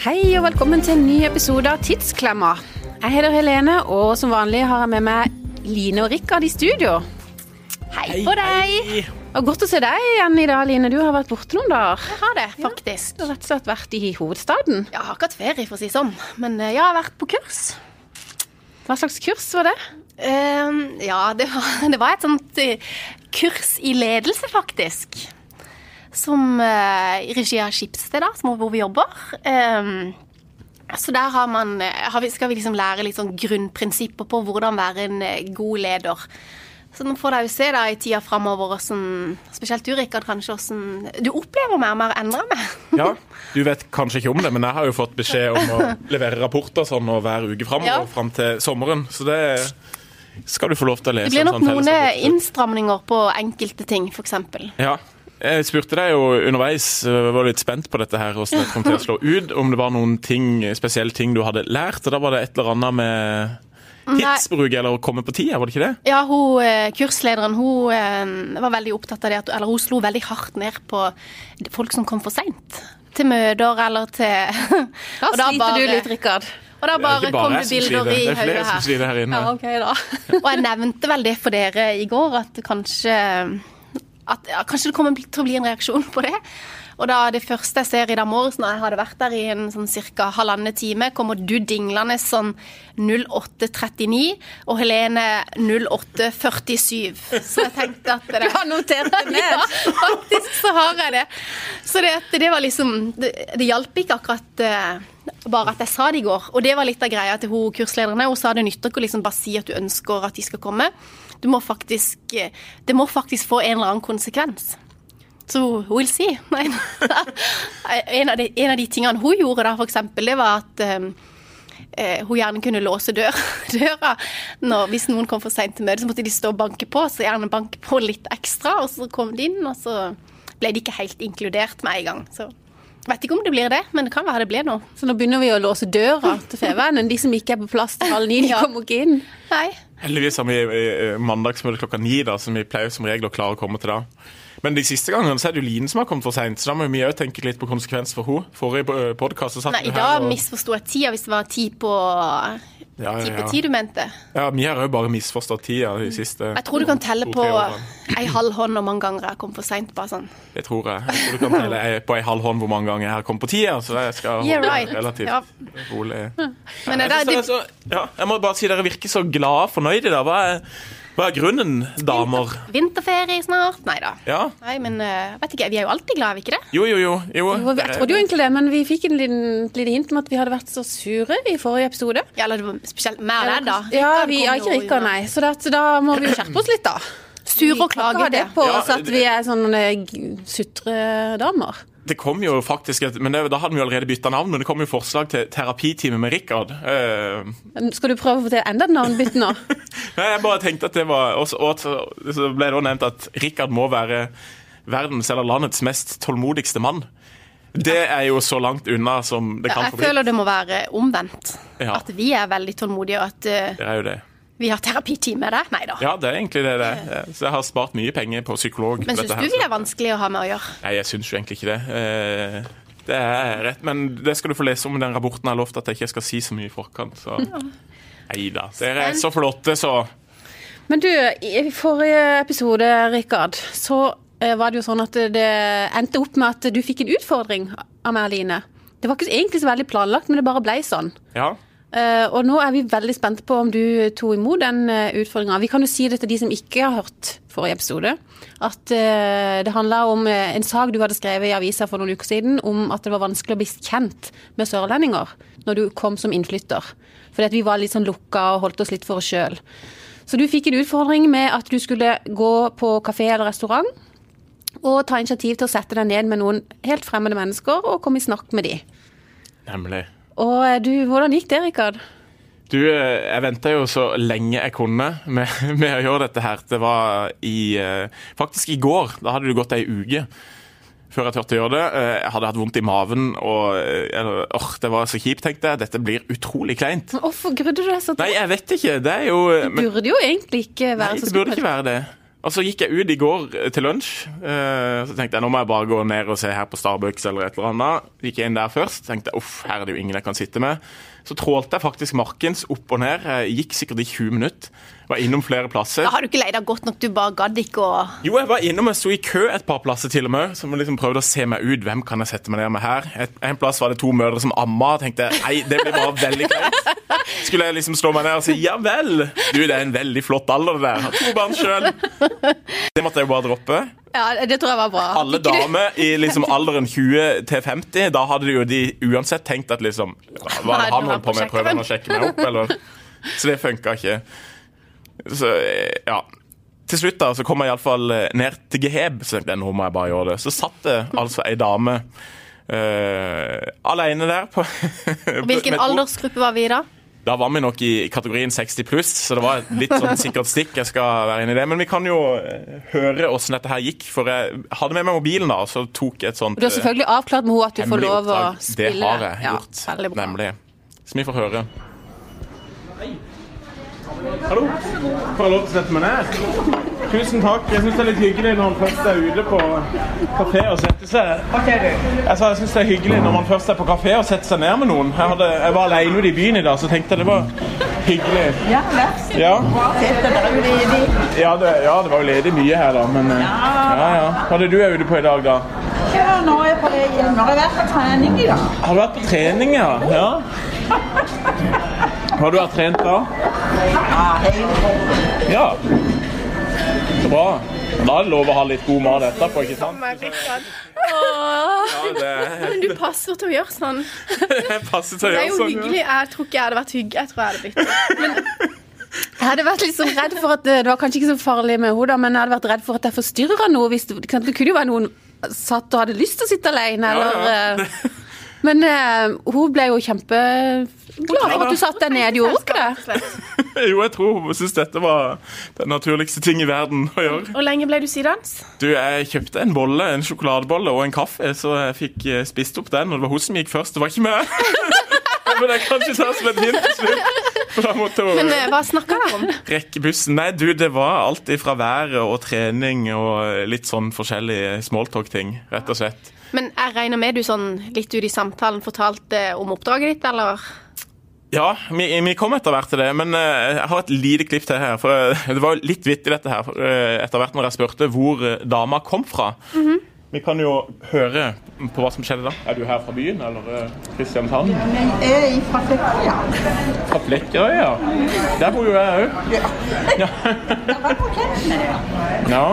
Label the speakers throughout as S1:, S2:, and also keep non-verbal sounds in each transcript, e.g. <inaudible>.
S1: Hei og velkommen til en ny episode av Tidsklemma. Jeg heter Helene, og som vanlig har jeg med meg Line og Rikard i studio. Hei på deg!
S2: hei.
S1: Og godt å se deg igjen i dag, Line. Du har vært borte noen dager.
S3: Jeg har det, faktisk.
S1: Du har rett og slett vært i hovedstaden.
S3: Jeg har ikke hatt ferie, for å si det sånn, men eh, jeg har vært på kurs.
S1: Hva slags kurs var det?
S3: Ehm, ja, det var, <laughs> det var et sånt eh, kurs i ledelse, faktisk. Som eh, i regi av Skipsted, da, som er hvor vi jobber. Ehm, så der har man, eh, har vi, skal vi liksom lære litt sånn grunnprinsipper på hvordan være en eh, god leder. Så nå får dere jo se da i tida framover, spesielt du, Rikard, kanskje, hvordan du opplever mer og mer endrer meg.
S2: Ja, Du vet kanskje ikke om det, men jeg har jo fått beskjed om å levere rapporter sånn og hver uke framover
S3: Ja.
S2: fram til sommeren. Så det skal du få lov til å lese.
S3: Det blir
S2: en
S3: nok
S2: sånn
S3: noen eh,
S2: fellesrapport.
S3: innstramninger på enkelte ting, f.eks.
S2: Ja. Jeg spurte deg jo underveis, jeg var litt spent på dette her, hvordan det kom til å slå ut, om det var noen ting, spesielle ting du hadde lært. Og da var det et eller annet med tidsbruk eller å komme på tida, var det ikke det?
S3: Ja, hun, eh, kurslederen hun eh, var veldig opptatt av det, at, eller hun slo veldig hardt ned på folk som kom for seint. Til møter eller til
S1: Da
S3: <laughs> Og
S1: sliter du litt, Rikard.
S3: og da
S2: Det er
S3: bare
S2: ikke bare
S3: kom det
S2: jeg som
S3: bilder i
S2: sliter, det er
S3: hodet
S2: flere som
S3: her.
S2: sliter her inne.
S1: ok, da.
S3: Og jeg nevnte vel det for dere i går, at kanskje at, ja, Kanskje det kommer til å bli en reaksjon på det. Og da det første jeg ser i dag morges, når jeg hadde vært der i en sånn ca. halvannen time, kommer du dinglende sånn 08.39 og Helene 08.47. Så jeg tenkte at det
S1: <laughs> Du har notert det ned.
S3: ja, faktisk så har jeg det. Så det, at det var liksom Det, det hjalp ikke akkurat eh, bare at jeg sa det i går. Og det var litt av greia til hun kurslederne. Hun sa det nytter ikke å liksom bare si at du ønsker at de skal komme. Du må faktisk eh, Det må faktisk få en eller annen konsekvens. Så hun vil si. <laughs> Nei, en, av de, en av de tingene hun gjorde da, for eksempel, det var at eh, eh, hun gjerne kunne låse dør, <laughs> døra. Når, hvis noen kom for seint til møtet, så måtte de stå og banke på. Så gjerne banke på litt ekstra, og så kom de inn, og så ble de ikke helt inkludert med en gang. Så jeg vet ikke om det blir det, men det kan være det blir noe.
S1: Så nå begynner vi å låse døra til Fevennen. De som ikke er på plass til halv ni, de
S3: Ja.
S1: kommer ikke inn.
S3: Nei.
S2: Heldigvis har vi eh, mandagsmøte klokka ni, da, som vi pleier som regel å klare å komme til da. Men de siste gangene så er det jo Line som har kommet for seint, så da må vi òg tenke litt på konsekvens for henne. Forrige podkast satt
S3: Nei,
S2: du
S3: I dag
S2: og-
S3: misforsto jeg tida, hvis det var ti på
S2: ja,
S3: ti,
S2: ja,
S3: på ti
S2: ja.
S3: du mente.
S2: ja, vi har òg bare misforstått tida de siste
S3: Mm. Jeg tror du kan telle på
S2: to-tre årene.
S3: ei halv hånd hvor mange ganger jeg kom for seint. Bare sånn.
S2: Det tror jeg. Jeg tror du kan telle ei- på ei halv hånd hvor mange ganger jeg har kommet på tida, så jeg skal holde
S3: Yeah,
S2: meg
S3: right.
S2: relativt
S3: Ja. Mm.
S2: rolig.
S3: Men
S2: Jeg,
S3: det,
S2: synes
S3: det,
S2: dere er så, ja, jeg må bare si dere virker så glade og fornøyde i dag. Hva er, hva er grunnen, damer?
S3: Vinterferie snart? Nei da.
S2: Ja.
S3: Nei, men eh, vet ikke, vi er jo alltid glad, er vi ikke det?
S2: Jo, jo, jo. jo.
S1: Jo, Jeg
S2: dere-
S1: trodde jo egentlig det, men vi fikk en liten, et lite hint om at vi hadde vært så sure i forrige episode.
S3: Ja, eller det var spesielt mer
S1: Ja,
S3: der, da.
S1: Ja,
S3: Rikard
S1: vi er
S3: kom jo
S1: ikke
S3: og gjorde-
S1: rikere, nei. Så, det, at- så da må vi jo skjerpe oss litt, da.
S3: Sur og
S1: Vi kan ikke ha
S3: klagete.
S1: det på
S2: Ja,
S1: oss at vi er sånne g- sutredamer.
S2: Det kom jo faktisk et, men det, Da hadde vi jo allerede bytta navn, men det kom jo forslag til terapitime med Rikard. Eh,
S1: Skal du prøve å få til enda et navnbytte nå?
S2: nei, jeg bare tenkte at det var Og så, og så- så ble det også nevnt at Rikard må være verdens eller landets mest tålmodigste mann. Det er jo så langt unna som det
S3: Ja,
S2: kan
S3: Jeg
S2: få bli.
S3: føler det må være omvendt.
S2: Ja.
S3: At vi er veldig tålmodige, og at eh,
S2: Det er jo det.
S3: vi har terapitime der. Nei da.
S2: Ja, det er egentlig det det er. Så jeg har spart mye penger på psykolog. på
S3: Men syns
S2: dette
S3: du
S2: her,
S3: vi
S2: så-
S3: er vanskelig å ha med å gjøre?
S2: Nei, jeg syns jo egentlig ikke det. Eh, Det er rett, men det skal du få lese om i den rapporten jeg har lovt at jeg ikke skal si så mye i forkant. Så. Nei da. Dere er så flotte, så.
S1: <laughs> Men du, i forrige episode, Rikard, så eh, var det jo sånn at det endte opp med at du fikk en utfordring av meg, Line. Det var ikke egentlig så veldig planlagt, men det bare blei sånn.
S2: Ja.
S1: Eh, og nå er vi veldig spente på om du tok imot den uh, utfordringa. Vi kan jo si det til de som ikke har hørt forrige episode, at eh, det handla om eh, en sak du hadde skrevet i avisa for noen uker siden om at det var vanskelig å bli kjent med sørlendinger når du kom som innflytter. Fordi at vi var litt sånn lukka og holdt oss litt for oss sjøl. Så du fikk en utfordring med at du skulle gå på kafé eller restaurant og ta initiativ til å sette deg ned med noen helt fremmede mennesker og komme i snakk med de.
S2: Nemlig.
S1: Og eh, du, hvordan gikk det, Rikard?
S2: Du, eh, jeg venta jo så lenge jeg kunne med, <laughs> med å gjøre dette her. Det var i eh, Faktisk i går. Da hadde det gått ei uke før jeg turte å gjøre det. Eh, Jeg hadde hatt vondt i maven og eh, eller, åh, Det var så kjipt, tenkte jeg. Dette blir utrolig kleint.
S1: Men Hvorfor grudde du deg så til?
S2: Nei, jeg vet ikke. Det er jo men,
S1: burde jo egentlig ikke være
S2: Nei,
S1: så
S2: det burde
S1: skummelt.
S2: ikke være det. Og så gikk jeg ut i går eh, til lunsj. eh, Så tenkte jeg nå må jeg bare gå ned og se her på Starbucks eller et eller annet. Gikk jeg inn der først. Tenkte jeg, uff, her er det jo ingen jeg kan sitte med. Så trålte jeg faktisk markens opp og ned. Jeg gikk sikkert i 20 minutter. Var innom flere plasser.
S3: Da har du ikke leid deg godt nok, du bare gadd ikke å
S2: Jo, jeg var innom og sto i kø et par plasser til og med, som liksom prøvde å se meg ut. Hvem kan jeg sette meg ned med her? Et, en plass var det to mødre som amma, og tenkte jeg, nei, det blir bare veldig kleint. Skulle jeg liksom slå meg ned og si ja vel? Du, det er en veldig flott alder, det der. Har to barn sjøl. Det måtte jeg jo bare droppe.
S1: Ja, det tror jeg var bra.
S2: Alle damer i liksom alderen 20 til 50, da hadde jo de uansett tenkt at liksom
S3: Hva
S2: Hva er
S3: er
S2: det
S3: det
S2: han
S3: han
S2: holder på med?
S3: sjekker
S2: Prøver
S3: vel?
S2: han å sjekke meg opp, eller? Så det funka ikke. Så ja. Til slutt da, så kom jeg iallfall eh, ned til Geheb. Så tenkte jeg, nå må jeg bare gjøre det. Så satt det altså ei dame uh, aleine der. På,
S3: Hvilken
S2: med et bord.
S3: aldersgruppe var vi i da?
S2: Da var vi nok i kategorien 60 pluss, så det var et litt sånn sikkert stikk. jeg skal være inne i det. Men vi kan jo eh, høre åssen dette her gikk, for jeg hadde med meg mobilen da, og så tok jeg et sånt
S1: Du har selvfølgelig avklart med henne at du
S2: eh,
S1: får
S2: hemmelig
S1: lov å
S2: oppdrag.
S1: spille.
S2: Det har jeg gjort,
S1: Ja, veldig bra.
S2: nemlig. Som vi får høre. Hallo. Får jeg lov til å sette meg ned? Tusen takk. Jeg syns det er litt hyggelig når man først er ute på kafé og setter seg Altså, jeg synes det er hyggelig når man først er på kafé og setter seg ned med noen. Jeg, hadde, jeg var alene ute i byen i dag, så tenkte jeg det var hyggelig.
S4: Ja, vær
S2: Ja,
S4: Sitter der ute i de.
S2: ja, det, ja det var jo ledig mye her, da, men eh, ja, ja. Hva er det du er ute på i dag, da?
S4: Ja, nå er jeg på vei hjem. Nå har jeg vært på trening i dag.
S2: Har du vært på trening, ja? ja. Har du vært trent da?
S4: Ja, helt bra.
S2: Ja. Så bra. Da er det lov å ha litt god mat etterpå, ikke sant? Ja, det,
S3: Men du passer til å gjøre sånn.
S2: det passer til å
S3: Det er
S2: gjøre
S3: jo
S2: sånn.
S3: hyggelig. Jeg tror ikke jeg hadde vært hygg. Jeg tror jeg hadde blitt det.
S1: Jeg hadde vært litt sånn redd for at Det var kanskje ikke så farlig med henne, da, men jeg hadde vært redd for at jeg forstyrra noe. Hvis det, ikke sant? det kunne jo være noen satt og hadde lyst til å sitte alene,
S2: Ja,
S1: eller
S2: ja.
S1: eh, Men eh, hun ble jo kjempeglad for at du satt deg ned. Gjorde hun ikke det?
S2: <laughs> Jo, jeg tror hun syns dette var den naturligste ting i verden å gjøre.
S3: Hvor lenge ble du sidans?
S2: Du, jeg kjøpte en bolle, en sjokoladebolle og en kaffe, så jeg fikk eh, spist opp den. Og det var hun som gikk først, det var ikke meg. <laughs> Men jeg kan ikke ta som et hint til slutt. For da måtte hun
S3: Men eh, hva snakka dere om?
S2: rekke bussen. Nei, du, det var alt ifra været og trening og litt sånn forskjellige smalltalk-ting, rett og slett.
S3: Men jeg regner med du sånn litt ut i samtalen fortalte eh, om oppdraget ditt, eller?
S2: Ja, vi, vi kom etter hvert til det, men eh, jeg har et lite klipp til her. For eh, det var jo litt vittig dette her, for, eh, etter hvert når jeg spurte hvor eh, dama kom fra. Vi kan jo høre på hva som skjedde da. Mhm. Er du her fra byen, eller eh, Kristiansand?
S4: Men jeg er fra Flekkøya.
S2: Fra Flekkerøya? Der bor jo jeg òg.
S4: Jeg var på Kempen.
S2: <laughs> Ja.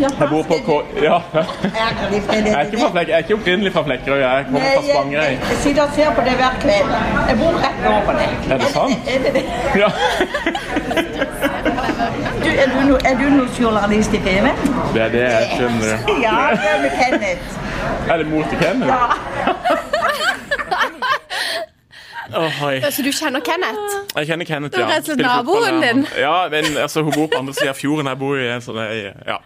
S2: Jeg bor på K... Ja. Jeg er ikke, fra Flek jeg er ikke opprinnelig fra Flekkerøy, jeg kommer fra Spangereid.
S4: Jeg sitter og ser på det hver kveld. Jeg bor rett over det.
S2: Er det sant?
S4: <laughs> Er det det?
S2: Ja.
S4: Du, er du, no, er du noen journalist i TV?
S2: Det er det jeg skjønner.
S4: Ja, det er med Kenneth.
S2: Er det mor til Kenneth?
S4: Ja.
S2: Åh, hei.
S3: Så du kjenner Kenneth?
S2: Jeg kjenner Kenneth,
S1: Du er
S2: ja.
S1: rett og slett
S2: Spiller fotball
S1: naboen
S2: der,
S1: din.
S2: han. Ja, men altså, hun bor på andre siden av fjorden. Jeg bor i en sånn ei- ja,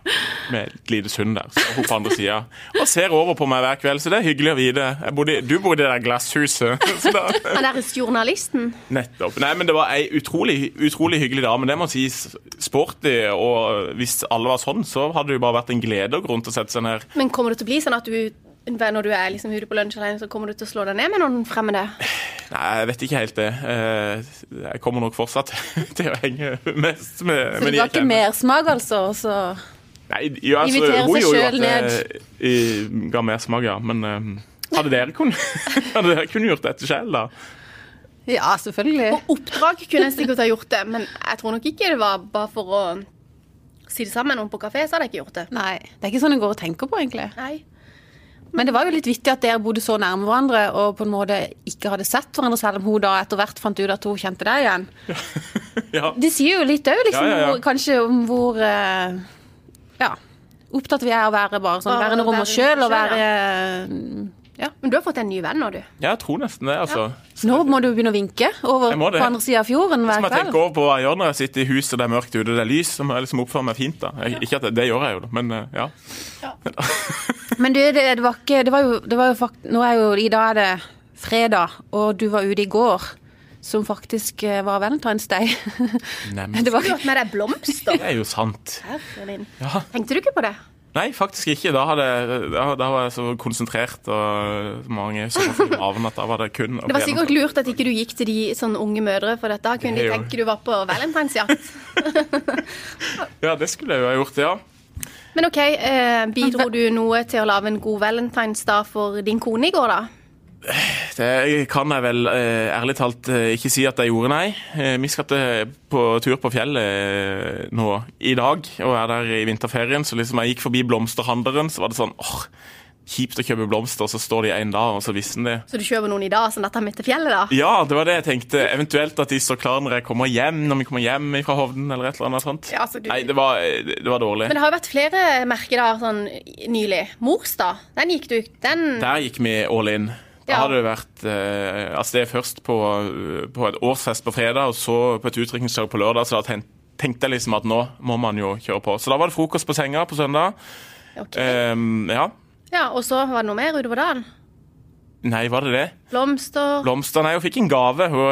S2: med et lite sund der. Så hun på andre siden. Og ser over på meg hver kveld, så det er hyggelig å vite. Jeg bodde, i- du bor i det der glasshuset. <laughs> Så da,
S3: Han der journalisten?
S2: nettopp. Nei, men det var ei utrolig, utrolig hyggelig dame. Det må sies sporty, og hvis alle var sånn, så hadde det jo bare vært en glede og grunn til å sette seg ned.
S3: Men kommer det til å bli sånn at du når du er liksom ute på lunsj alene, så kommer du til å slå deg ned med noen fremmede?
S2: Nei, jeg vet ikke helt det. Eh, Jeg kommer nok fortsatt <laughs> til å henge mest med,
S1: Så det
S2: med de
S1: var
S2: jeg
S1: ikke
S2: kjenner.
S1: mersmak, altså? Så.
S2: Nei, jo, altså,
S1: Invitere
S2: hun
S1: seg
S2: gjorde jo
S1: selv
S2: at det i- ga mersmak, ja. Men eh, hadde dere kun- <laughs> hadde dere kunnet gjort dette selv, da? <laughs>
S1: Ja, selvfølgelig.
S3: På oppdrag kunne jeg sikkert ha gjort det, men jeg tror nok ikke det var bare for å si det sammen med noen på kafé, så hadde jeg ikke gjort det.
S1: Nei, det er ikke sånn en går og tenker på, egentlig.
S3: Nei.
S1: Men det var jo litt vittig at dere bodde så nærme hverandre og på en måte ikke hadde sett hverandre, selv om hun da etter hvert fant ut at hun kjente deg igjen.
S2: Ja.
S1: Det sier jo litt òg, liksom,
S2: Ja, ja, ja.
S1: Hvor, kanskje om hvor eh, Ja. Opptatt vi er av å være bare sånn,
S3: Bare
S1: være
S3: å
S1: noe om
S3: være
S1: oss sjøl og
S3: seg
S1: være
S3: Men du har fått en ny venn nå, du.
S2: Jeg tror nesten det, altså.
S1: Nå må du begynne å vinke over
S2: Jeg må
S1: på
S2: det.
S1: andre sida av fjorden
S2: Som
S1: hver
S2: jeg tenker
S1: kveld.
S2: over på hva jeg gjør når jeg sitter i huset, det er mørkt ute, det er lys, så må jeg liksom oppføre meg fint, da. Jeg, ikke at det, det gjør jeg jo, da, men eh, ja.
S1: Men du, det, det var ikke Det var jo, det var jo fakt... Nå er jo I dag er det fredag, og du var ute i går. som faktisk eh, var Valentine's Day. <laughs>
S2: Nemlig.
S1: det var,
S3: Du har hatt med deg blomster.
S2: <laughs> Det er jo sant.
S3: Herre min.
S2: Ja.
S3: Tenkte du ikke på det?
S2: Nei, faktisk ikke. Da, hadde, da, da var jeg så konsentrert og mange sommerfuglavn at da var det kun å
S3: Det var
S2: bli
S3: sikkert lurt at ikke du gikk til de sånn unge mødre, for dette kunne
S2: Det
S3: de
S2: er jo-
S3: tenke du var på valentinsjakt.
S2: gjennomført. Ja, det skulle jeg jo ha gjort, ja.
S3: Men OK, eh, bidro du noe til å lage en god valentinsdag for din kone i går, da?
S2: Det kan jeg vel eh, ærlig talt eh, ikke si at jeg gjorde, nei. Eh, Vi skal til på tur på fjellet eh, nå i dag, og er der i vinterferien. Så liksom jeg gikk forbi blomsterhandleren, så var det sånn åh, kjipt å kjøpe blomster, og så står de en dag, og så visste de det.
S3: Så du kjøper noen i dag, sånn at han midt til fjellet, da?
S2: Ja, det var det jeg tenkte. Eventuelt at de står klar når jeg kommer hjem, når vi kommer hjem fra Hovden, eller et eller annet sånt.
S3: Ja, altså, du-
S2: Nei, det var, eh, det var dårlig.
S3: Men det har jo vært flere merkedager sånn nylig. Morsdag, den gikk du Den
S2: Der gikk vi all in. Da
S3: Ja.
S2: hadde det vært eh, Altså, det er først på, eh, på et årsfest på fredag, og så på et utdrikningslag på lørdag, så da ten- tenkte jeg liksom at nå må man jo kjøre på. Så da var det frokost på senga på søndag.
S3: Ok.
S2: Ehm, ja.
S3: Ja, og så var det noe mer utover dagen.
S2: Nei, var det det?
S3: Blomster
S2: Blomster? Nei, hun fikk en gave. Hun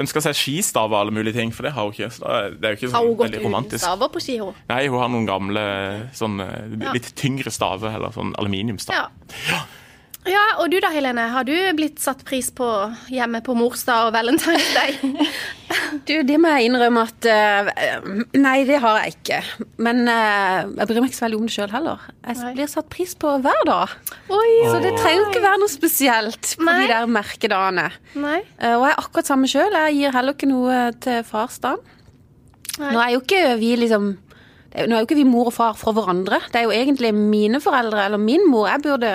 S2: ønska seg skistav og alle mulige ting, for det har hun ikke. Så da- det er jo ikke
S3: Har
S2: sånn
S3: hun gått
S2: veldig
S3: uten
S2: romantisk.
S3: staver på ski, hun?
S2: Nei, hun har noen gamle sånn eh,
S3: Ja.
S2: litt tyngre staver, eller sånn aluminiumstav.
S3: Ja. ja. Og du da, Helene. Har du blitt satt pris på hjemme på morsdag og Valentine's Day?
S1: du, det må jeg innrømme at eh, Nei, det har jeg ikke. Men eh, jeg bryr meg ikke så veldig om det sjøl heller. Jeg
S3: Nei.
S1: blir satt pris på hver dag.
S3: <laughs> Oi,
S1: Så det trenger jo ikke være noe spesielt på
S3: Nei.
S1: de der merkedagene.
S3: Nei.
S1: Eh, Og jeg er akkurat samme sjøl. Jeg gir heller ikke noe eh, til farsdagen.
S3: Nei.
S1: Nå er jo ikke vi liksom det er jo- Nå er jo ikke vi mor og far fra hverandre. Det er jo egentlig mine foreldre eller min mor jeg burde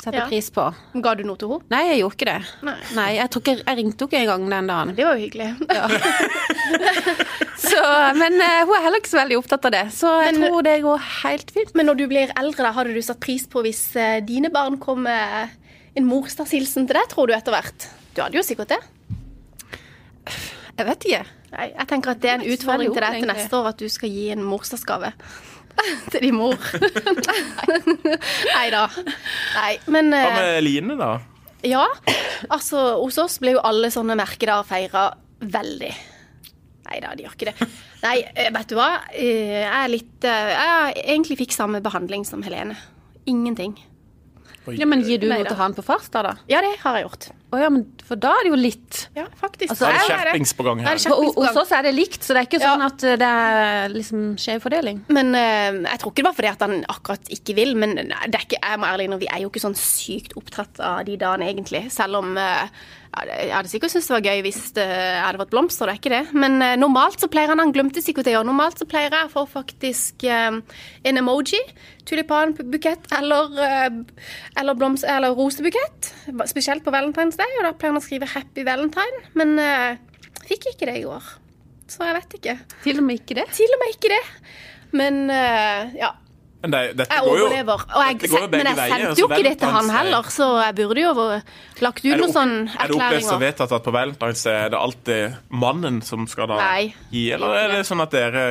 S1: sette
S3: Ja.
S1: pris på.
S3: Ga du noe til henne?
S1: Nei, jeg gjorde ikke det.
S3: Nei.
S1: jeg, tror ikke, jeg ringte jo ikke engang den dagen.
S3: Det var jo hyggelig.
S1: Så, men eh, hun er heller ikke så veldig opptatt av det, så jeg
S3: Men-
S1: tror det går helt fint.
S3: <laughs> Men når du blir eldre, da, hadde du satt pris på hvis eh, dine barn kom med en morsdagshilsen til deg, tror du, etter hvert? Du hadde jo sikkert det.
S1: Jeg vet ikke.
S3: Nei, jeg tenker at det er en
S1: ikke så veldig
S3: utfordring til deg
S1: ung,
S3: til
S1: egentlig.
S3: neste år at du skal gi en morsdagsgave <laughs> til din mor. Nei <laughs> da. Nei, men
S2: Hva
S3: eh,
S2: med Line, da?
S3: ja. Altså, hos oss ble jo alle sånne merkedager feira veldig. Nei da, de gjør ikke det. Nei, eh, vet du hva. Eh, Jeg er litt eh, Jeg egentlig fikk samme behandling som Helene. Ingenting.
S2: Oi.
S1: Ja, men Gir du
S3: Nei
S1: noe
S3: da.
S1: til han på farsdag, da?
S3: Ja, det har jeg gjort.
S1: Å ja, men for da er det jo litt.
S3: Ja, faktisk.
S1: Altså,
S2: Da er det
S3: Jeg-
S2: skjerpings på gang
S3: Da er
S2: her.
S1: For
S3: det skjerpings på
S1: hos
S3: gang.
S1: oss er det likt, så det er ikke
S3: Ja.
S1: sånn at eh, det er liksom skjev fordeling.
S3: Men eh, jeg tror ikke det var fordi at han akkurat ikke vil. Men det er ikke, jeg må ærlig innrømme, vi er jo ikke sånn sykt opptatt av de dagene, egentlig. Selv om eh, jeg hadde sikkert syntes det var gøy hvis det hadde vært blomster, det er ikke det. Men eh, normalt så pleier han Han glemte sikkert det i år. Normalt så pleier jeg å få faktisk eh, en emoji, tulipanbukett eller, eh, eller, blomst, eller rosebukett. Spesielt på Valentine's Day, og da pleier han å skrive 'Happy Valentine'. Men eh, fikk ikke det i år. Så jeg vet ikke.
S1: Til og med ikke det.
S3: Til og med ikke det. Men eh, ja.
S2: Men det, dette
S3: Jeg
S2: går jo,
S3: overlever. Og jeg,
S2: dette går jo begge
S3: men jeg
S2: veier,
S3: sendte
S2: altså,
S3: jo ikke det til han
S2: Valentine's Day.
S3: heller, så jeg burde jo ha lagt ut
S2: Er det
S3: noen
S2: opp-
S3: sånn
S2: Er det opplest og
S3: erklæringer.
S2: vedtatt at på Valentine's Day er det alltid mannen som skal da
S3: Nei.
S2: gi, eller er det sånn at dere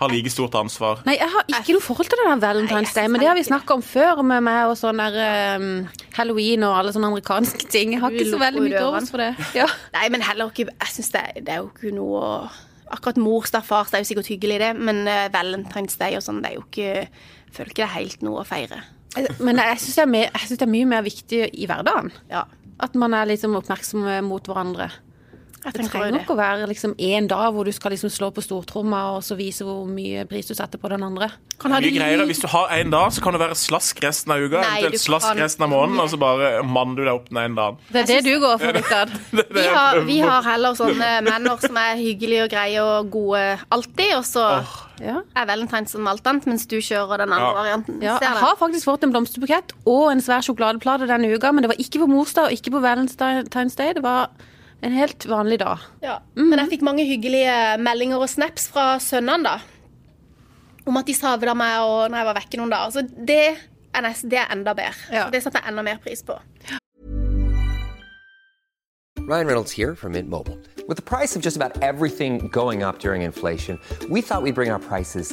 S2: har like stort ansvar?
S1: Nei, jeg har ikke noe forhold til det der
S3: Nei,
S1: Valentine's
S3: jeg
S1: Day, men
S3: synes
S1: det har vi
S3: ikke
S1: snakka om før med meg og sånn der um, halloween og alle sånne amerikanske ting. Jeg har
S3: Du
S1: ikke så
S3: lukker
S1: veldig mye til
S3: dørene.
S1: overs for det. Ja.
S3: Nei, men heller ikke Jeg synes det, det er jo ikke noe å- Akkurat morsdag, farsdag er jo sikkert hyggelig, det, men eh, Valentine's Day og sånn, det er jo ikke jeg Føler ikke det er helt noe å feire.
S1: Men jeg syns det, er mer- jeg synes det er mye mer viktig i hverdagen.
S3: Ja,
S1: At man er liksom oppmerksom mot hverandre.
S3: jeg
S1: Det
S3: tenker jo
S1: trenger
S3: det.
S1: ikke å være liksom én dag hvor du skal liksom slå på stortromma og så vise hvor mye pris du setter på den andre.
S3: Kan ha
S2: Mye
S3: det
S2: greier.
S3: litt-
S2: Hvis du har én dag, så kan det være slask resten av uka,
S3: Nei, du
S2: eventuelt slask
S3: kan
S2: resten av måneden, og så bare manner du deg opp den ene dagen. <laughs>
S1: Det er det du går for, Rikard.
S3: Vi har, vi har heller sånne menner som er hyggelige og greie og gode alltid, og så
S2: Åh.
S1: <laughs> Ja.
S3: er valentines som alt annet, mens du kjører den andre
S2: Ja.
S3: varianten.
S1: Ja,
S3: Ser
S1: jeg
S3: det?
S1: har faktisk fått en blomsterbukett og en svær sjokoladeplate denne uka, men det var ikke på morsdag og ikke på Valentine's Day. Det var en helt vanlig dag. <laughs>
S3: Ja. Men jeg fikk mange hyggelige meldinger og snaps fra sønnene, da. Om at de savna meg og når jeg var vekke noen dager. Så det er, nest, det er enda bedre.
S1: Ja.
S3: Så Det setter jeg enda mer pris på.
S5: Ryan Reynolds here from Mint Mobile. With the price of just about everything going up during inflation, we thought we'd bring our prices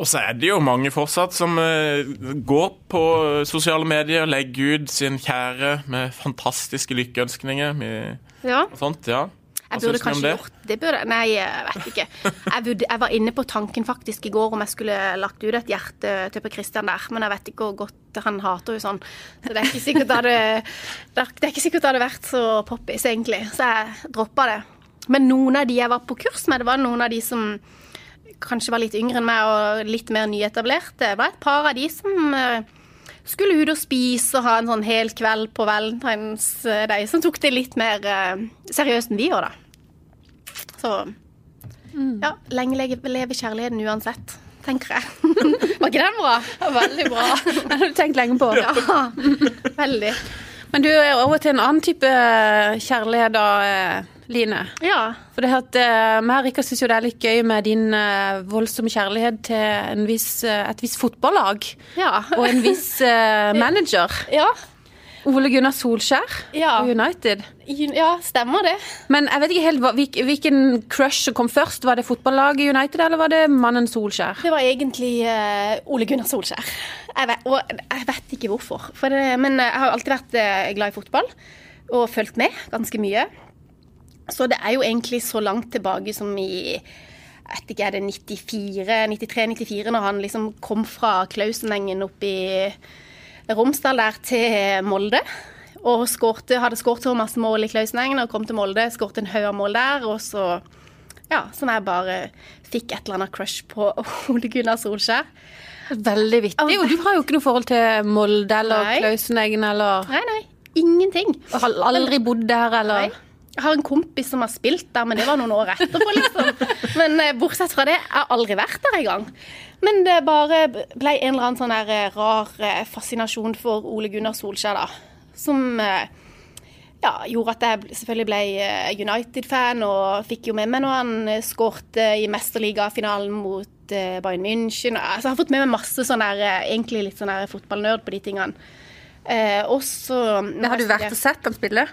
S2: Og så er det jo mange fortsatt som eh, går på eh, sosiale medier, legger ut sin kjære med fantastiske lykkeønskninger med,
S3: Ja.
S2: og sånt, ja. Hva
S3: Jeg burde
S2: syns du om
S3: kanskje
S2: det?
S3: gjort det. Burde, nei, jeg vet ikke. Jeg, burde, jeg var inne på tanken faktisk i går om jeg skulle lagt ut et hjerte til Per Christian der, men jeg vet ikke hvor godt han hater jo sånn. Så det er ikke sikkert det hadde, det er- det er ikke sikkert det hadde vært så poppis, egentlig. Så jeg droppa det. Men noen av de jeg var på kurs med, det var noen av de som kanskje var litt yngre enn meg og litt mer nyetablerte. Det var et par av de som eh, skulle ut og spise og ha en sånn hel kveld på Valentine's Day, som tok det litt mer eh, seriøst enn vi gjør, da. Så ja, lenge leve, leve kjærligheten uansett, tenker jeg. Var ikke den bra? <laughs> Veldig bra.
S1: Det har du tenkt lenge på.
S3: Ja, veldig.
S1: Men du er over til en annen type kjærlighet da, eh, Line.
S3: Ja.
S1: For det er at eh, meg og Rikard syns jo det er litt gøy med din eh, voldsomme kjærlighet til en viss, eh, et visst fotballag
S3: Ja.
S1: og en viss <laughs> eh, manager.
S3: ja.
S1: Ole Gunnar Solskjær
S3: Ja.
S1: og United.
S3: Ja, stemmer det.
S1: Men jeg vet ikke helt hva, hvil- hvilken crush som kom først. Var det fotballaget United, eller var det mannen Solskjær?
S3: Det var egentlig eh, Ole Gunnar Solskjær. Jeg vet, og jeg vet ikke hvorfor. For det, men jeg har alltid vært eh, glad i fotball og fulgt med ganske mye. Så det er jo egentlig så langt tilbake som i jeg vet ikke, er det 94, 93-94, når han liksom kom fra Klausenengen opp i Romsdal der til Molde. Og skårte, hadde skåret så masse mål i Klausenengen og kom til Molde, skåret en haug av mål der. Og så, ja, som jeg bare fikk et eller annet crush på <laughs> Ole Gunnar Solskjær.
S1: Veldig vittig. Og du har jo ikke noe forhold til Molde eller
S3: Nei.
S1: Klauseneggen eller
S3: Nei, nei, ingenting.
S1: har Aldri bodd der eller
S3: Nei. Jeg har en kompis som har spilt der, men det var noen år etterpå, liksom. Men eh, bortsett fra det, jeg har aldri vært der engang. Men det bare ble en eller annen sånn der eh, rar eh, fascinasjon for Ole Gunnar Solskjær, da. Som eh, ja, gjorde at jeg bl- selvfølgelig ble eh, United-fan, og fikk jo med meg når han eh, skårte i mesterligafinalen mot eh, Bayern München. Altså, jeg har fått med meg masse sånn der, eh, egentlig litt sånn der fotballnerd på de tingene. Eh, og så
S1: Men Har du vært og sett han spille?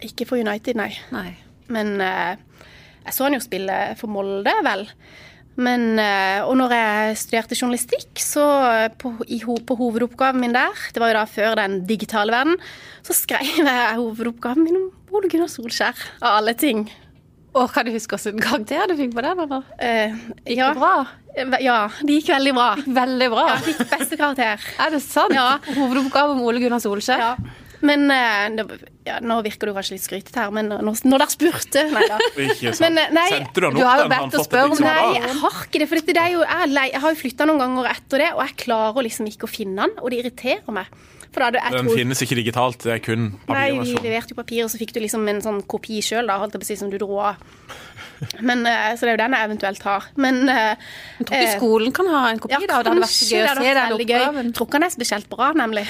S3: Ikke for United, nei.
S1: Nei.
S3: Men eh, jeg så han jo spille for Molde, vel. Men, eh, og når jeg studerte journalistikk, så eh, på, i, ho- på hovedoppgaven min der, det var jo da før den digitale verden, så skrev jeg hovedoppgaven min om Ole Gunnar Solskjær, av alle ting.
S1: Og kan du huske hvilken karakter du fikk på den? eller?
S3: Eh,
S1: Gikk
S3: ja,
S1: det
S3: Eh,
S1: bra?
S3: Ja, det gikk veldig bra.
S1: Veldig bra.
S3: Jeg fikk beste karakter.
S1: Er det sant?
S3: Ja.
S1: Hovedoppgave om Ole Gunnar Solskjær?
S3: Ja. Men eh, det- ja, nå virker du kanskje litt skrytete her, men når, når dere spurte Nei da.
S2: Ikke sant.
S3: <laughs> Men, eh, nei,
S2: Sendte du han
S1: du
S2: opp
S1: har jo
S2: den? Har
S1: bedt å
S2: han fått et
S1: spørre om-
S2: eksemplar?
S3: Nei, jeg har ikke det. For dette, det er jo, jeg, er lei, jeg har jo flytta noen ganger etter det, og jeg klarer liksom ikke å finne den, og det irriterer meg. For da hadde jeg
S2: Den
S3: trodd-
S2: finnes ikke digitalt, det er kun
S3: Nei, vi
S2: papirversjon.
S3: leverte jo papir, og så fikk du liksom en sånn kopi sjøl, da, holdt jeg på å si, som du dro av. Men, eh, så det er jo den jeg eventuelt har. Men eh,
S1: Jeg tror ikke skolen kan ha en kopi, da. og Det hadde vært så
S3: kanskje
S1: gøy
S3: det
S1: å
S3: hadde
S1: se
S3: vært
S1: den
S3: veldig gøy.
S1: oppgaven.
S3: Tror ikke han er spesielt bra, nemlig.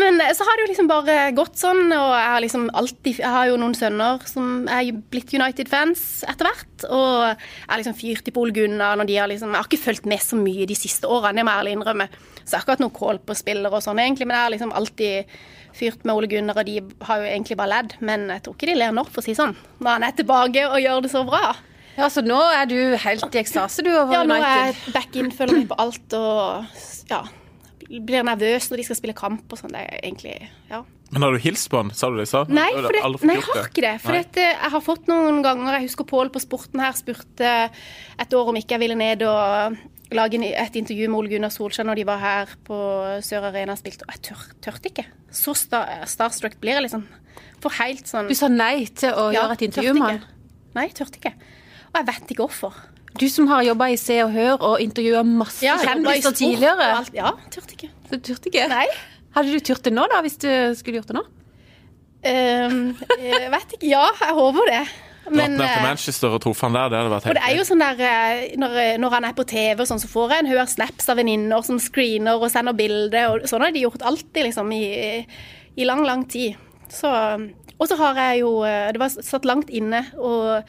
S3: Men eh, så har det jo liksom bare gått sånn, og jeg har liksom alltid Jeg har jo noen sønner som er jo blitt United-fans etter hvert, og jeg har liksom fyrt i Pol Gunnar når de har liksom Jeg har ikke fulgt med så mye de siste årene, det må jeg ærlig innrømme. Så jeg har ikke hatt noe kål på spillere og sånn, egentlig, men jeg har liksom alltid fyrt med Ole Gunnar, og de har jo egentlig bare ledd, men jeg tror ikke de ler nå, for å si sånn. Når han er tilbake og gjør det så bra.
S1: Ja, så nå er du helt i ekstase, du, over
S3: Ja, nå er jeg
S1: United.
S3: back in, følger med på alt og ja, blir nervøs når de skal spille kamp og sånn. Det er egentlig ja.
S2: Men har du hilst på han? Sa du det? Sa?
S3: Nei,
S2: Du har
S3: for det,
S2: aldri fått
S3: nei, jeg
S2: gjort
S3: har ikke det. For
S2: Nei.
S3: dette- jeg har fått noen ganger Jeg husker Pål på Sporten her spurte et år om ikke jeg ville ned og lage en- et intervju med Ole Gunnar Solskjær når de var her på Sør Arena og spilte, og jeg tør, tørte ikke. Så sta, starstruck blir jeg liksom. For helt sånn
S1: Du sa nei til å gjøre et intervju med han.
S3: Nei, tørte ikke. Og jeg vet ikke hvorfor.
S1: Du som har jobba i Se og Hør og intervjua masse kjendiser tidligere.
S3: Ja, tørte ikke.
S1: Du turte ikke?
S3: Nei.
S1: Hadde du turt det nå, da, hvis du skulle gjort det nå?
S3: Ehm, jeg vet ikke. Ja, jeg håper det.
S2: Dratt
S3: Men,
S2: ned til
S3: eh,
S2: Manchester og truffet han der, det hadde vært
S3: Og det
S2: helt
S3: er jo sånn der, eh, når, når han er på TV, og sånn, så får jeg en haug av snaps av venninner som screener og sender bilder. og Sånn har de gjort alltid liksom, i, i lang, lang tid. Så, og så har jeg jo eh, Det var satt langt inne å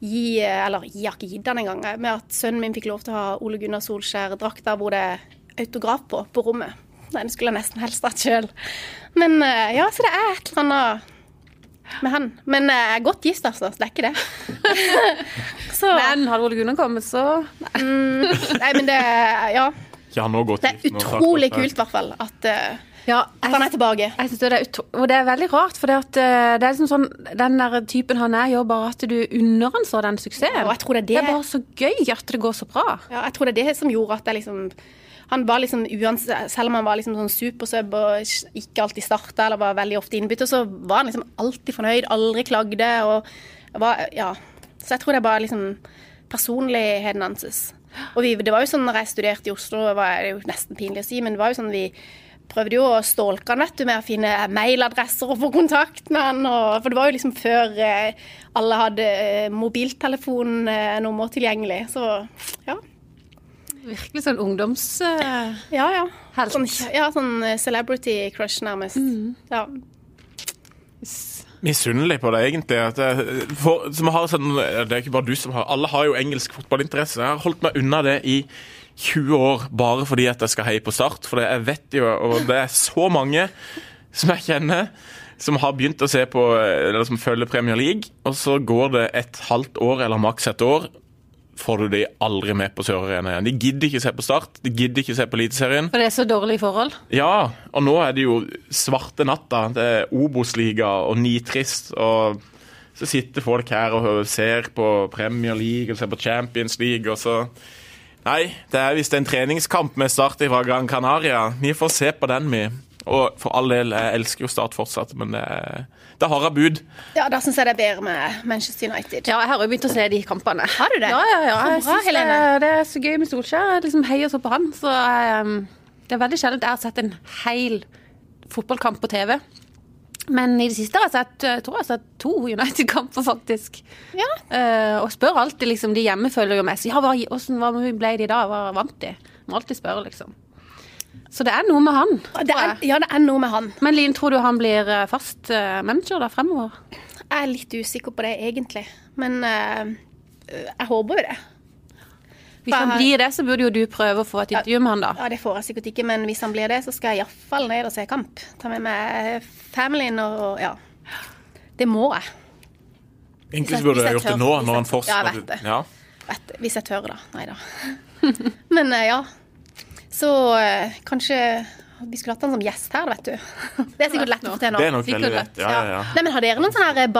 S3: gi eh, Eller gi, jeg har ikke gitt han engang. jeg, Med at sønnen min fikk lov til å ha Ole Gunnar Solskjær-drakta hvor det er autograf på, på rommet. Nei, det skulle jeg nesten helst hatt sjøl. Men eh, ja, så det er et eller annet med han. Men eh, jeg er godt gift, altså. så Det er ikke det. så,
S1: Men hadde Ole Gunnar kommet, så
S3: Nei, men det Ja.
S2: Ja, nå går
S3: Det er
S2: gift, nå har
S3: utrolig
S2: sagt det.
S3: kult, i hvert fall, at, eh,
S1: Ja,
S3: at han er tilbake.
S1: Jeg synes det er utro og det er veldig rart, for det, at, eh, det er liksom sånn, den der typen han er, gjør bare at du unner han så den suksessen.
S3: Og jeg tror det er
S1: Det
S3: det,
S1: er bare så gøy at det går så bra.
S3: ja, jeg tror det, er det som gjorde at jeg liksom han var liksom, uans- Selv om han var liksom sånn supersub og ikke- ikke alltid starta eller var veldig ofte innbytter, så var han liksom alltid fornøyd, aldri klagde. og var, ja. Så jeg tror det er bare liksom personligheten hans. Og vi, det var jo sånn når jeg studerte i Oslo, var det jo nesten pinlig å si, men det var jo sånn vi prøvde jo å stalke han vet du, med å finne mailadresser og få kontakt med han. Og, for det var jo liksom før eh, alle hadde eh, mobiltelefonnummer tilgjengelig. Så ja.
S1: Virkelig sånn ungdoms... eh,
S3: Ja, ja.
S1: Helt. Mm.
S3: Sånn, ja, sånn eh, celebrity crush, nærmest. Ja.
S2: misunnelig på det, egentlig. At jeg, for, som har sånn, det er ikke bare du som har Alle har jo engelsk fotballinteresse. Jeg har holdt meg unna det i 20 år bare fordi at jeg skal heie på Start. For det- jeg vet jo, og det er så mange som jeg kjenner, som har begynt å se på Eller som følger Premier League, og så går det et halvt år, eller maks et år, får du de aldri med på Sør-Arena igjen. De gidder ikke se på Start, de gidder ikke se på Eliteserien.
S1: For det er så dårlige forhold.
S2: Ja, og nå er det jo svarte natta. Det er Obos-liga og nitrist. Og så sitter folk her og ser på Premier League og ser på Champions League, og så Nei, det er visst en treningskamp med Start fra Gran Canaria. Vi får se på den, vi. Og for all del, jeg elsker jo Start fortsatt, men det er, det er harde bud.
S3: ja, da syns jeg det er bedre med Manchester United.
S1: Ja, jeg har jo begynt å se de kampene.
S3: Har du det?
S1: Ja, ja, ja.
S3: Så
S1: Jeg
S3: bra,
S1: synes det,
S3: Helene.
S1: det er så gøy med Solskjær. Jeg liksom heier så på han. Så ehm, det er veldig sjelden jeg har sett en hel fotballkamp på TV. Men i det siste har jeg sett, eh, jeg tror jeg har sett to United-kamper, faktisk.
S3: Ja.
S1: Eh, og spør alltid, liksom. De hjemme følger jo mest. Ja, hva, hvordan, hva ble de da? Hva vant de? Må alltid spørre, liksom. Så det er noe med han.
S3: Det er,
S1: tror jeg.
S3: ja, det er noe med han.
S1: Men Linn, tror du han blir eh, fast eh, manager da fremover?
S3: Jeg er litt usikker på det, egentlig. Men eh, jeg håper jo det.
S1: Hvis han
S3: Hva-
S1: blir det, så burde jo du prøve å få et intervju med han, da.
S3: Ja, Det får jeg sikkert ikke, men hvis han blir det, så skal jeg iallfall ned og se kamp. Ta med meg familien og, og ja. Det må jeg.
S2: Egentlig
S3: Hvis jeg-
S2: så burde
S3: hvis
S2: jeg
S3: jeg
S2: gjort det
S3: tør-
S2: nå,
S3: hvis
S2: når
S3: jeg-
S2: han fortsatt
S3: Ja, jeg vet det.
S2: Ja.
S3: Vet, hvis jeg tør, da. Nei
S1: <laughs>
S3: da. Men eh, ja. Så eh, kanskje vi skulle hatt han som gjest her, vet du. Det er sikkert lett å få til nå.
S2: Det er nok veldig
S1: Sikkert
S2: lett. Ja, ja, ja.
S3: Nei, men Har dere noen sånne her eh,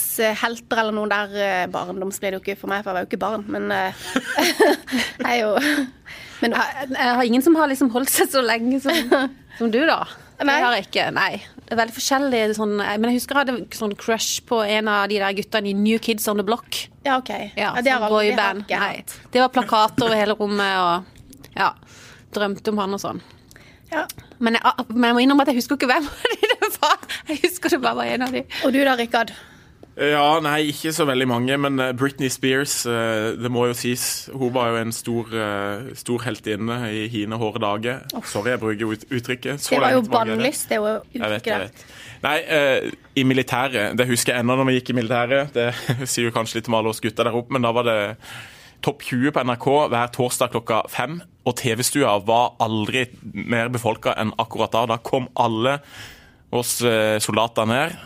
S3: barndomshelter eller noen der eh, Barndoms ble det jo ikke for meg, for jeg var jo ikke barn, men eh, <laughs> jeg er jo Men
S1: Jeg jeg har ingen som har liksom holdt seg så lenge
S3: <laughs>
S1: som, som du, da. Det
S3: Nei.
S1: har jeg ikke. Nei. Det er veldig forskjellig. Sånn, jeg- men jeg husker jeg hadde sånn crush på en av de der guttene i New Kids on the Block.
S3: ja, OK.
S1: Ja, sånn
S3: det har aldri- det har
S1: boyband.
S3: jeg ikke.
S1: Nei. Det var plakater over hele rommet og ja, drømte om han og sånn.
S3: Ja.
S1: Men jeg, ah, men jeg må innrømme at jeg husker ikke hvem av de det var. Jeg husker det bare var en av de.
S3: Og du da, Rikard?
S2: Ja, nei, ikke så veldig mange, men eh, Britney Spears, eh, det må jo sies. Hun var jo en stor, eh, stor heltinne i hine hårde dager. Sorry, jeg bruker ut- uttrykket. Så
S3: Det var jo
S2: lenge tilbake er det.
S3: bannlyst, det er jo
S2: Jeg vet, jeg
S3: uttrykket
S2: vet. Nei, eh, i militæret, det husker jeg ennå når vi gikk i militæret. Det <laughs> sier jo kanskje litt om alle oss gutter der oppe, men da var det Topp 20 på NRK hver torsdag klokka fem. Og TV-stua var aldri mer befolka enn akkurat da. Da kom alle oss eh, soldater ned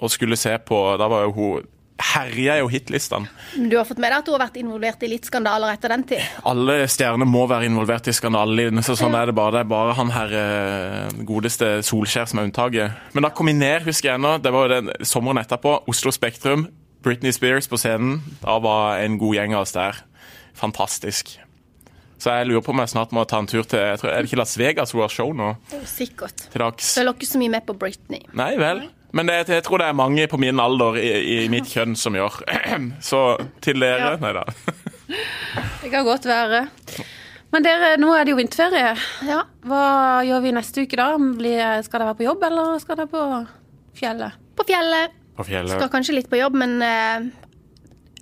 S2: og skulle se på Da var jo hun Herja jo hitlistene.
S3: Men du har fått med deg at du har vært involvert i litt skandaler etter den tid?
S2: Alle stjerner må være involvert i skandalen, så sånn er det bare. Det er bare han her eh, godeste Solskjær som er unntaket. Men da kom vi ned, husker jeg ennå. Det var jo den sommeren etterpå. Oslo Spektrum. Britney Spears på scenen. Da var en god gjeng av oss der. Fantastisk. Så jeg lurer på om jeg snart må ta en tur til jeg tror, Er det ikke Las Vegas hun har show nå?
S3: Sikkert.
S2: Til dags?
S3: Følger ikke så mye med på Britney.
S2: Nei vel. Men det, jeg tror det er mange på min alder i, i mitt kjønn som gjør. <clears throat> Så til dere
S3: Ja.
S2: Nei <laughs> da.
S1: Det kan godt være. Men dere, nå er det jo vinterferie.
S3: Ja.
S1: Hva gjør vi neste uke, da? Blir, skal dere være på jobb, eller skal dere på fjellet?
S3: På fjellet.
S2: På fjellet.
S3: Skal kanskje litt på jobb, men eh,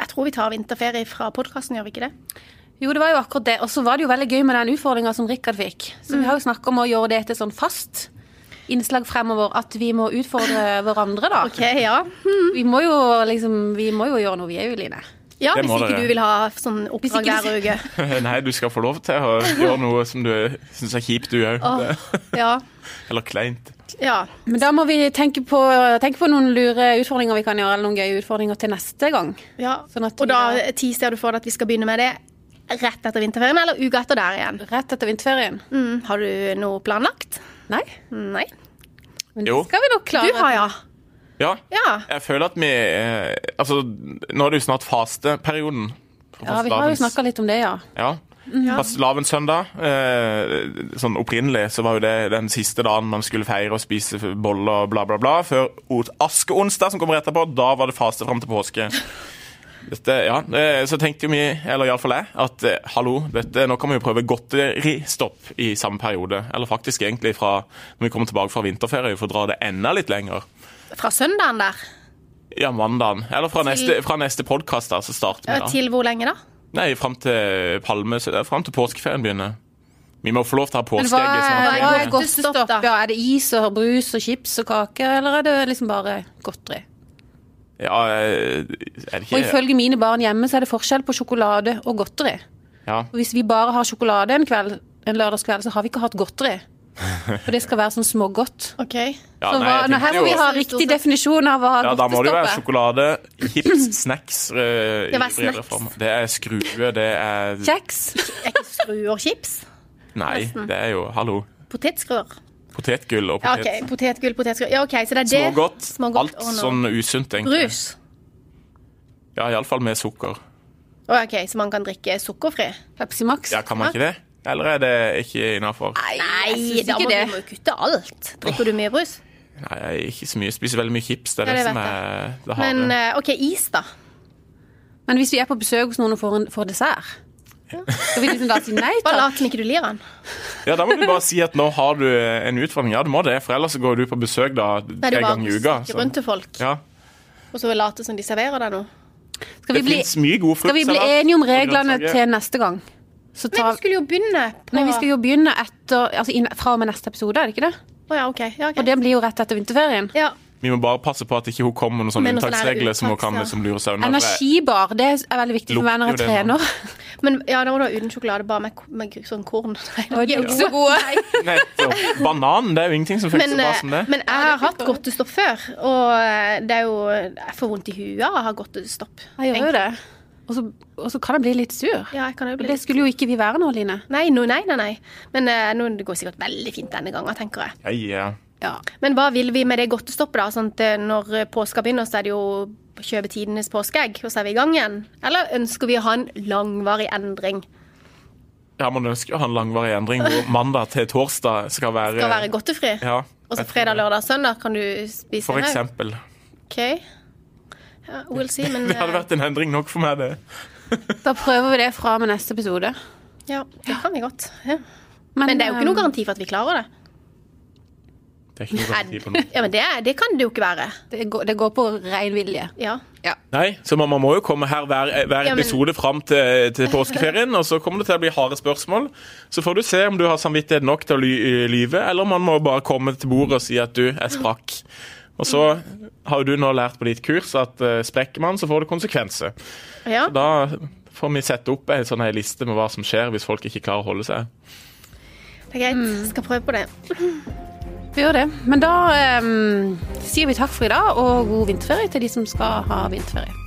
S3: Jeg tror vi tar vinterferie fra podkasten, gjør vi ikke det?
S1: Jo, det var jo akkurat det. Og så var det jo veldig gøy med den utfordringa som Rikard fikk. Så vi har jo snakka om å gjøre det til sånn fast innslag fremover, at vi må <laughs> utfordre hverandre, da.
S3: Ok, ja.
S1: Vi må jo liksom Vi må jo gjøre noe, vi òg, Line.
S3: Ja,
S2: Det
S3: Hvis
S2: må
S3: ikke
S2: dere.
S3: du vil ha sånn oppdrag
S1: ikke du
S3: hver uke.
S2: <laughs> Nei, du skal få lov til å gjøre noe som du syns er kjipt, du òg.
S3: Åh, Ja.
S2: <laughs> Eller kleint.
S3: ja.
S1: Men da må vi tenke på, tenke på noen lure utfordringer vi kan gjøre, eller noen gøye utfordringer til neste gang.
S3: ja.
S1: Sånn at
S3: Og
S1: vi
S3: da
S1: da-
S3: teaser du for deg at vi skal begynne med det rett etter vinterferien, eller uka etter der igjen?
S1: Rett etter vinterferien.
S3: Mm, har du noe planlagt?
S1: Nei?
S3: Nei.
S1: Men
S2: Jo.
S1: det skal vi nok
S3: Du
S1: klare.
S3: har, ja.
S2: Ja.
S3: Ja.
S2: Jeg føler at vi eh, Altså, nå er det jo snart fasteperioden. for
S1: Ja, vi har jo
S2: fastelavns-
S1: snakka litt om det, ja.
S2: Ja. Fastelavnssøndag. Eh, sånn opprinnelig så var jo det den siste dagen man skulle feire og spise boller og bla, bla, bla. Før ot- askeonsdag, som kommer etterpå, da var det faste fram til påske. Dette, ja, eh, Så tenkte jo vi, eller iallfall jeg, at eh, hallo, dette, nå kan vi jo prøve godteristopp i samme periode. Eller faktisk egentlig fra når vi kommer tilbake fra vinterferie, for å dra det enda litt lenger.
S3: Fra søndagen der?
S2: Ja, mandagen. Eller fra neste, fra neste podkast, så starter vi da.
S3: Eh, Til hvor lenge, da?
S2: Nei, fram til Palme Fram til påskeferien begynner. Vi må få lov til å ha
S1: Men hva
S2: påskeegg. i
S1: er,
S2: sånn
S1: hva
S2: at
S1: er
S2: det-
S3: godt-
S1: godtestopp, da? Ja, er det is og brus og chips og kake, eller er det liksom bare godteri?
S2: Ja, eh, er det
S1: Og
S2: ikke
S1: ifølge mine barn hjemme så er det forskjell på sjokolade og godteri.
S2: ja.
S1: Og hvis vi bare har sjokolade en kveld, en lørdagskveld, så har vi ikke hatt godteri. For det skal være sånn smågodt.
S3: OK.
S2: Ja,
S1: Så
S2: nei,
S1: hva,
S2: jeg
S1: nå,
S2: tenkte
S1: her må
S2: jo-
S1: vi ha riktig definisjon av hva
S2: ja, Da må det jo
S1: godtestoppet
S2: være
S1: er.
S2: sjokolade, chips, snacks eh, i
S3: var
S2: bredere
S3: snacks.
S2: form. Det er skrue, det er
S1: Kjeks.
S3: Er ikke skruer chips?
S2: Nei, det er jo Hallo.
S3: Potetskruer?
S2: Potetgull og
S3: Ja,
S2: potet.
S3: OK. Potetgull, potetskruer. Ja, OK, så det er det.
S2: Smågodt.
S3: Smågodt
S2: Alt
S3: og noe.
S2: sånn usunt, egentlig.
S3: Brus.
S2: Ja, Iallfall med sukker.
S3: Å, OK, så man kan drikke sukkerfri?
S1: Pepsi Max.
S2: Ja, Kan man ikke det? Eller er det ikke innafor?
S3: Nei,
S1: synes
S3: da
S1: ikke
S3: må
S1: det.
S3: du må jo kutte alt. Drikker du mye brus?
S2: Nei, jeg er ikke så mye. Jeg spiser veldig mye chips. Det er
S3: Ja, det
S2: det som
S3: vet
S2: er det harde.
S3: Men eh, OK, is, da.
S1: Men hvis vi er på besøk hos noen og får, en, får dessert, skal vi liksom da si nei
S3: Bare
S1: takk?
S3: lat som ikke du lir den.
S2: Ja, Da må du bare si at nå har du eh, en utfordring. Ja, du må det, for ellers så går du på besøk da
S3: Nei, du
S2: tre
S3: bare
S2: ganger i uka.
S3: snakker
S2: så-
S3: rundt til folk,
S2: Ja.
S3: og så late som de serverer deg noe.
S1: Skal vi
S2: Det
S1: bli,
S2: fins mye god frukt.
S1: skal vi bli enige om reglene til neste gang? Så
S3: Men
S1: tar,
S3: vi skulle jo begynne på
S1: nei, vi skal jo begynne etter, altså inn, fra og med neste episode, er det ikke det?
S3: Å ja, OK. Ja, ok.
S1: Og det blir jo rett etter vinterferien.
S3: ja.
S2: Vi må bare passe på at ikke hun kommer med noen sånne
S3: Med noen sånne her
S2: unntaksregler som hun kan
S3: unntaksregler.
S2: som lurer seg unna. for jeg-
S1: Energibar, det er veldig viktig for meg når jeg
S2: Lukter jo det nå.
S3: <laughs>
S1: trener.
S3: Men ja, da var det uten sjokolade, bare med, med sånn korn. <laughs> Nei,
S1: Og de er ikke så gode.
S2: Nei, så- Banan, det er jo ingenting som funker
S3: Men,
S2: så bra
S3: eh,
S2: som det.
S3: men jeg har hatt godtestopp før, og eh, det er jo Jeg får vondt i huet av å ha godtestopp.
S1: Jeg gjør jo det. Og så, og så kan jeg bli litt sur.
S3: Ja, jeg kan jo
S1: Og
S3: bli
S1: det
S3: litt-
S1: skulle jo ikke vi være nå, Line.
S3: Nei, no, nei, nei, nei. Men eh, nå, det går sikkert veldig fint denne gangen, tenker jeg.
S2: Jeg, eh,
S1: Ja.
S3: Men hva vil vi med det godtestoppet, da? Sånn at eh, når påska begynner, så er det jo å kjøpe tidenes påskeegg, og så er vi i gang igjen? Eller ønsker vi å ha en langvarig endring?
S2: ja, man ønsker å ha en langvarig endring hvor mandag til torsdag skal være,
S3: Skal være godtefri?
S2: Ja,
S3: Og så
S2: jeg tror
S3: fredag,
S2: det.
S3: lørdag, søndag kan du spise
S2: For
S3: en haug?
S2: eksempel.
S3: OK. Ja, we'll see, men
S2: <laughs> Det hadde
S3: eh,
S2: vært en endring nok for meg, det.
S1: Da prøver vi det fra med neste episode.
S3: eh, Ja, det kan vi godt. Ja. Men det er jo ikke noen
S2: Um,
S1: eh,
S3: garanti for at vi klarer det.
S2: Det er ikke noe garanti på noe.
S3: Ja, men det, det kan det jo ikke være.
S1: Det går, det går på ren vilje.
S3: Ja.
S2: Nei, så man, man må jo komme her hver, hver
S3: Ja, men-
S2: episode fram til, til påskeferien, og så kommer det til å bli harde spørsmål. Så får du se om du har samvittighet nok til å ly lyve, eller om man må bare komme til bordet og si at du er sprakk. Og så har jo du nå lært på ditt kurs at eh, sprekker man, så får det konsekvenser.
S3: ja.
S2: Da får vi sette opp en sånn her liste med hva som skjer hvis folk ikke klarer å holde seg.
S3: Det er greit. Skal prøve på det.
S1: Vi gjør det. ehm, Men da eh, sier vi takk for i dag, og god vinterferie til de som skal ha vinterferie.